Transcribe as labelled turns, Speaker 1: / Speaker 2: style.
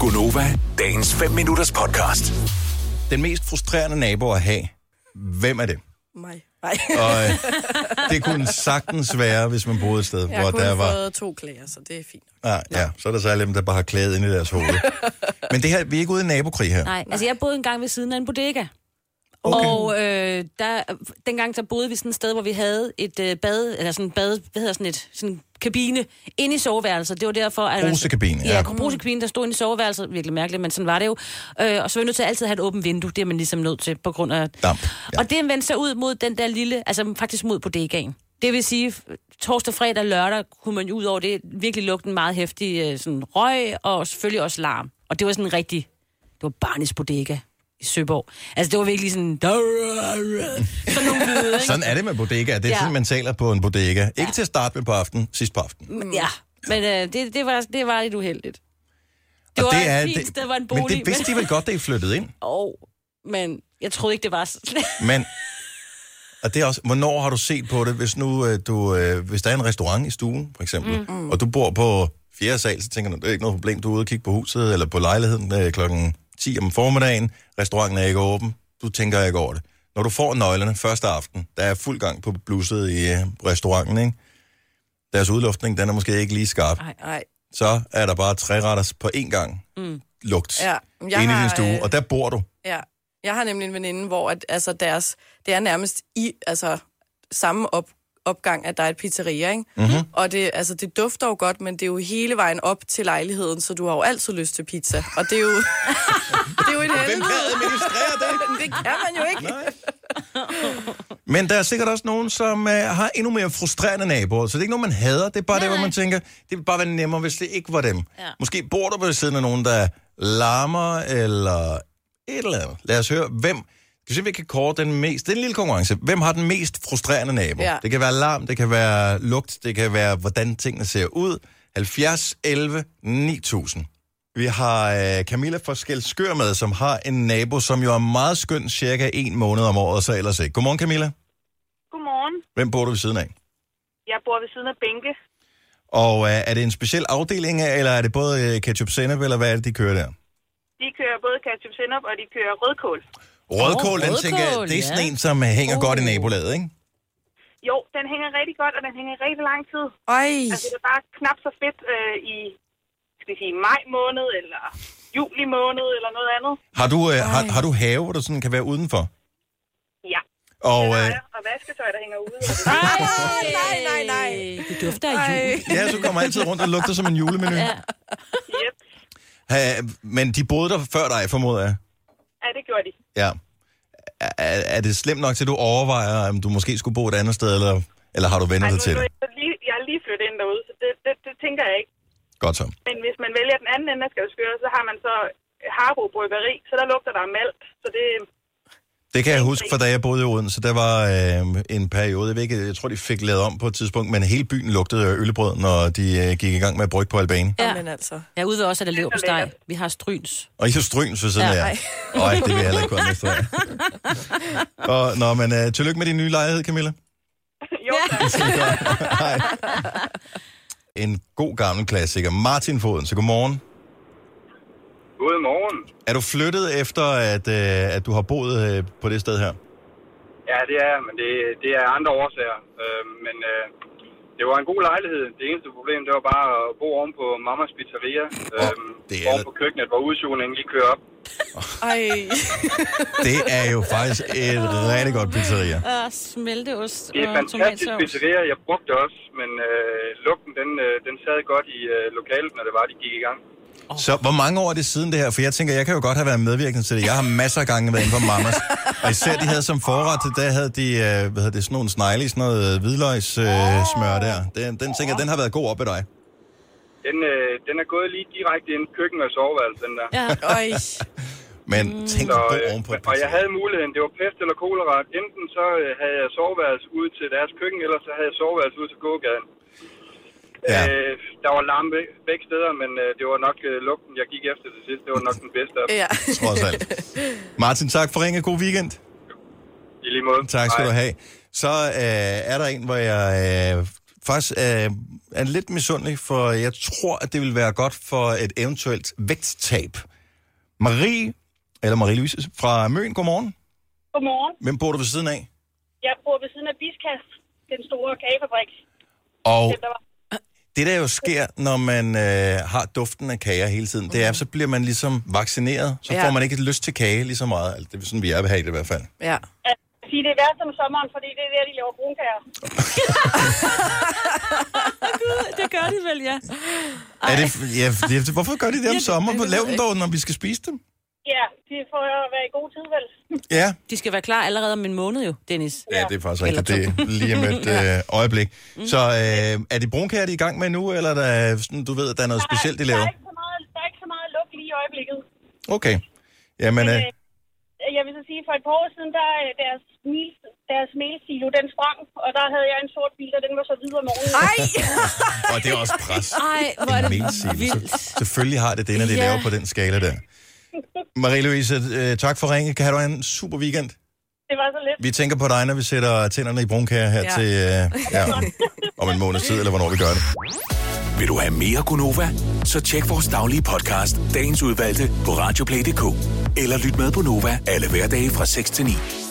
Speaker 1: Gunova, dagens 5 minutters podcast.
Speaker 2: Den mest frustrerende nabo at have, hvem er det?
Speaker 3: Mig. Nej.
Speaker 2: Og øh, det kunne sagtens være, hvis man boede et sted,
Speaker 3: Jeg
Speaker 2: hvor
Speaker 3: har
Speaker 2: der
Speaker 3: kun
Speaker 2: var...
Speaker 3: fået to klager, så det er fint.
Speaker 2: Ah, ja, så er der særlig dem, der bare har klædet ind i deres hoved. Men det her, vi er ikke ude i nabokrig her.
Speaker 4: Nej, altså jeg boede engang ved siden af en bodega. Okay. Og øh, der, dengang der boede vi sådan et sted, hvor vi havde et øh, bad, eller sådan en bad, hvad hedder sådan et, sådan en kabine, inde i soveværelset. Det var derfor, at... man-
Speaker 2: Brusekabine, ja.
Speaker 4: Ja, brusekabine, der stod inde i soveværelset. Virkelig mærkeligt, men sådan var det jo. Øh, og så var vi nødt til altid at have et åbent vindue. Det er man ligesom nødt til, på grund af...
Speaker 2: Damp, ja.
Speaker 4: Og det vendte sig ud mod den der lille, altså faktisk mod bodegaen. Det vil sige, torsdag, fredag og lørdag kunne man ud over det virkelig lugte en meget hæftig øh, sådan, røg, og selvfølgelig også larm. Og det var sådan en rigtig, det var Barnes Bodega i Søborg. Altså det var virkelig sådan, sådan nogle lyde, ikke?
Speaker 2: Sådan er det med bodegaer. Det er
Speaker 4: Ja.
Speaker 2: sådan, man taler på en bodega. Ikke til at starte med på aftenen, sidst på aftenen.
Speaker 4: Men, Mm. ja, men øh, det, det, var, det var lidt uheldigt. Det
Speaker 2: Og
Speaker 4: var et fint sted, var en
Speaker 2: Men
Speaker 4: bolig,
Speaker 2: det vidste de
Speaker 4: men-
Speaker 2: vel godt, da I flyttede ind.
Speaker 4: Åh, men jeg troede ikke, det var sådan.
Speaker 2: Men, og det er også, hvornår har du set på det, hvis nu øh, du, øh, hvis der er en restaurant i stuen, for eksempel, mm. og du bor på fjerde sal, så tænker du, det er ikke noget problem, du er ude og kigge på huset, eller på lejligheden øh, klokken 10 om formiddagen, restauranten er ikke åben, du tænker ikke over det. Når du får nøglerne første aften, der er fuld gang på blusset i øh, restauranten, ikke? deres udluftning, den er måske ikke lige skarp,
Speaker 4: Ej.
Speaker 3: Nej.
Speaker 2: så er der bare tre retter på én gang mm. lugt
Speaker 3: Ja,
Speaker 2: ja,
Speaker 3: men jeg
Speaker 2: inde i din
Speaker 3: har,
Speaker 2: stue,
Speaker 3: øh,
Speaker 2: og der bor du.
Speaker 3: Ja. Jeg har nemlig en veninde, hvor at, altså, deres, det er nærmest i altså, samme op, opgang, at der er et pizzeria, ikke? Mm-hmm. Og det, altså, det dufter jo godt, men det er jo hele vejen op til lejligheden, så du har jo altid lyst til pizza. Og det er jo, det er jo et
Speaker 2: Hvem
Speaker 3: helvede.
Speaker 2: kan administrere det?
Speaker 3: Det kan man jo ikke.
Speaker 2: Men der er sikkert også nogen, som øh, har endnu mere frustrerende naboer. Så det er ikke nogen, man hader. Det er bare det, hvor man tænker, det ville bare være nemmere, hvis det ikke var dem. Ja. Måske bor du ved siden af nogen, der larmer eller et eller andet. Lad os høre, hvem... Skal vi se, om vi kan kåre den mest... Det er en lille konkurrence. Hvem har den mest frustrerende nabo?
Speaker 3: Ja.
Speaker 2: Det kan være larm, det kan være lugt, det kan være, hvordan tingene ser ud. 70, 11, 9000. Vi har øh, Camilla fra Skelskør med, som har en nabo, som jo er meget skøn, cirka en måned om året, så ellers ikke. Godmorgen, Camilla.
Speaker 5: Godmorgen.
Speaker 2: Hvem bor du ved siden af?
Speaker 5: Jeg bor ved siden af Bænke.
Speaker 2: Og øh, er det en speciel afdeling, eller er det både øh, ketchup sennep, eller hvad er det, de kører der?
Speaker 5: De kører både ketchup sinup, og de kører rødkål.
Speaker 2: Rødkål, den
Speaker 4: rødkål,
Speaker 2: tænker jeg, det er sådan
Speaker 4: ja.
Speaker 2: en, som øh, hænger
Speaker 4: Uh.
Speaker 2: godt i nabolaget, ikke?
Speaker 5: Jo, den hænger rigtig godt, og den hænger i rigtig lang tid.
Speaker 3: Ej.
Speaker 5: Altså, det er bare knap så fedt øh, i, skal vi sige, maj måned, eller juli måned, eller noget andet.
Speaker 2: Har du, øh, har, har du have, hvor du sådan kan være udenfor?
Speaker 5: Ja.
Speaker 2: Og
Speaker 5: Og,
Speaker 2: øh,
Speaker 5: og vasketøj, der hænger ude.
Speaker 4: Ej,
Speaker 3: nej, nej, nej.
Speaker 4: Øh, Det dufter af jul.
Speaker 3: Ej.
Speaker 2: ja, så kommer altid rundt og lugter som en julemenu.
Speaker 4: Ja.
Speaker 5: Yep.
Speaker 2: Ha, men de boede der før dig, formoder jeg.
Speaker 5: Ja, det gjorde de.
Speaker 2: Ja. Er, er er det slemt nok til, at du overvejer, om du måske skulle bo et andet sted, eller, eller har du vendt
Speaker 5: Ej,
Speaker 2: dig
Speaker 5: nu,
Speaker 2: til
Speaker 5: nu,
Speaker 2: det?
Speaker 5: er jeg, lige, jeg er lige flyttet ind derude, så det, det, det tænker jeg ikke.
Speaker 2: Godt så.
Speaker 5: Men hvis man vælger den anden ende af Skavskøre, så har man så Harbo Bryggeri, så der lugter der af malt. Så det,
Speaker 2: Det kan jeg huske fra da jeg boede i Odense. Der var øh, en periode, jeg, ved ikke, jeg tror, de fik lavet om på et tidspunkt, men hele byen lugtede af ølbrød, når de øh, gik i gang med at brygge på Albani.
Speaker 4: Ja.
Speaker 3: Men altså.
Speaker 4: Jeg er ude ved os, at der lever på steg.
Speaker 5: lækkert.
Speaker 4: Vi har stryns.
Speaker 2: Og I så stryn, så sådan
Speaker 4: Ja,
Speaker 2: ja,
Speaker 3: ej.
Speaker 2: jeg. Øj, det vil jeg heller ikke komme efter. Og, nå, men øh, tillykke med din nye lejlighed, Camilla.
Speaker 5: jo, tak.
Speaker 2: Hej. En god gammel klassiker. Martin Foden, så godmorgen.
Speaker 6: Godmorgen.
Speaker 2: Er du flyttet efter, at, øh, at du har boet øh, på det sted her?
Speaker 6: Ja, det er, men det, det er andre årsager. Øh, men øh, det var en god lejlighed. Det eneste problem, det var bare at bo oven på mammas pizzeria. Øh,
Speaker 2: Åh, det er-
Speaker 6: oven på køkkenet, hvor udsugningen lige kører op.
Speaker 3: Ej.
Speaker 2: Det er jo faktisk et rigtig godt pizzeria.
Speaker 4: Og smelteost
Speaker 6: Det er et
Speaker 4: og
Speaker 6: fantastisk
Speaker 4: tomatsovs.
Speaker 6: pizzeria. Jeg brugte det også, men øh, lugten, den, øh, den sad godt i øh, lokalet, når det var, de gik i gang.
Speaker 2: Så hvor mange år er det siden det her? For jeg tænker, jeg kan jo godt have været medvirkende til det. Jeg har masser af gange været inde på Mamas. Og især de havde som forret, der havde de, øh, hvad hedder det, sådan nogle snegle i sådan noget øh, hvidløgssmør øh, smør der. Den, den tænker, jeg, den har været god op ved dig.
Speaker 6: Den, øh, den er gået lige direkte ind i køkken og soveværelse, den der.
Speaker 4: Ja.
Speaker 3: Ej.
Speaker 2: Men tænk
Speaker 6: Så,
Speaker 2: at bo
Speaker 6: øh,
Speaker 2: ovenpå et
Speaker 6: og jeg
Speaker 2: pizzeria.
Speaker 6: havde muligheden, det var pest eller kolera. Enten så øh, havde jeg soveværelse ud til deres køkken, eller så havde jeg soveværelse ud til gågaden.
Speaker 2: Ja.
Speaker 6: Ja. Øh, der var larm beg- begge steder, men øh, det var nok øh, lugten, jeg gik efter til sidst. Det var nok den bedste af dem.
Speaker 3: Ja.
Speaker 2: trods alt. Martin, tak for ringe. God weekend.
Speaker 6: i lige måde.
Speaker 2: Tak skal
Speaker 6: Hej.
Speaker 2: du have. Så øh, er der en, hvor jeg øh, faktisk øh, er lidt misundelig, for jeg tror, at det vil være godt for et eventuelt vægttab. Marie, eller Marie-Louise fra Møn, godmorgen.
Speaker 7: Godmorgen.
Speaker 2: Hvem bor du ved siden af?
Speaker 7: Jeg bor ved siden af Biskast, den store kagefabrik.
Speaker 2: Og
Speaker 7: Den, der var.
Speaker 2: det, der jo sker, når man øh, har duften af kager hele tiden, det er, så bliver man ligesom vaccineret. Så
Speaker 3: Ja.
Speaker 2: får man ikke lyst til kage lige så meget. Altså, det er sådan, vi er her i det i hvert fald.
Speaker 3: Ja.
Speaker 7: Jeg vil sige, det er værst om sommeren, fordi det er der, de laver brunkager.
Speaker 4: Det gør de vel, ja.
Speaker 2: Er det, ja, det, hvorfor gør de det om
Speaker 4: det- det
Speaker 2: sommeren?
Speaker 4: ved
Speaker 2: Lav
Speaker 4: jeg
Speaker 2: dem dog, når vi skal spise dem.
Speaker 7: Ja, det får at være i god tid, vel?
Speaker 2: Ja,
Speaker 4: De skal være klar allerede om en måned jo, Dennis.
Speaker 2: Ja, det er faktisk rigtigt.
Speaker 4: Eller Mm.
Speaker 2: Det er lige om et øh, øjeblik. Så øh, er det brunkager, de er i gang med nu, eller er der, sådan, du ved, at der er noget specielt, de
Speaker 7: der,
Speaker 2: laver?
Speaker 7: er ikke så meget, der er ikke så meget lugt lige i øjeblikket.
Speaker 2: Okay. Jamen, øh,
Speaker 7: Jeg vil så sige, for et par år siden, der øh, deres, mil, deres melsilo, den sprang, og der havde jeg en sort bil, og den var så hvid om morgenen.
Speaker 3: Ej!
Speaker 2: og det er også pres.
Speaker 4: Ej, hvor er
Speaker 2: En
Speaker 4: det
Speaker 2: mailsilo.
Speaker 4: vildt.
Speaker 2: Selvfølgelig har det det, når de
Speaker 4: Ja.
Speaker 2: laver på den skala der. Marie-Louise, øh, tak for ringe. Kan have du en super weekend.
Speaker 7: Det var så lidt.
Speaker 2: Vi tænker på dig, når vi sætter tænderne i brunkager her
Speaker 3: Ja.
Speaker 2: til øh, ja, om en måneds tid, eller hvornår vi gør det.
Speaker 1: Vil du have mere Gunova? Så tjek vores daglige podcast, dagens udvalgte, på radioplay.dk. Eller lyt med på Nova alle hverdage fra 6 til 9.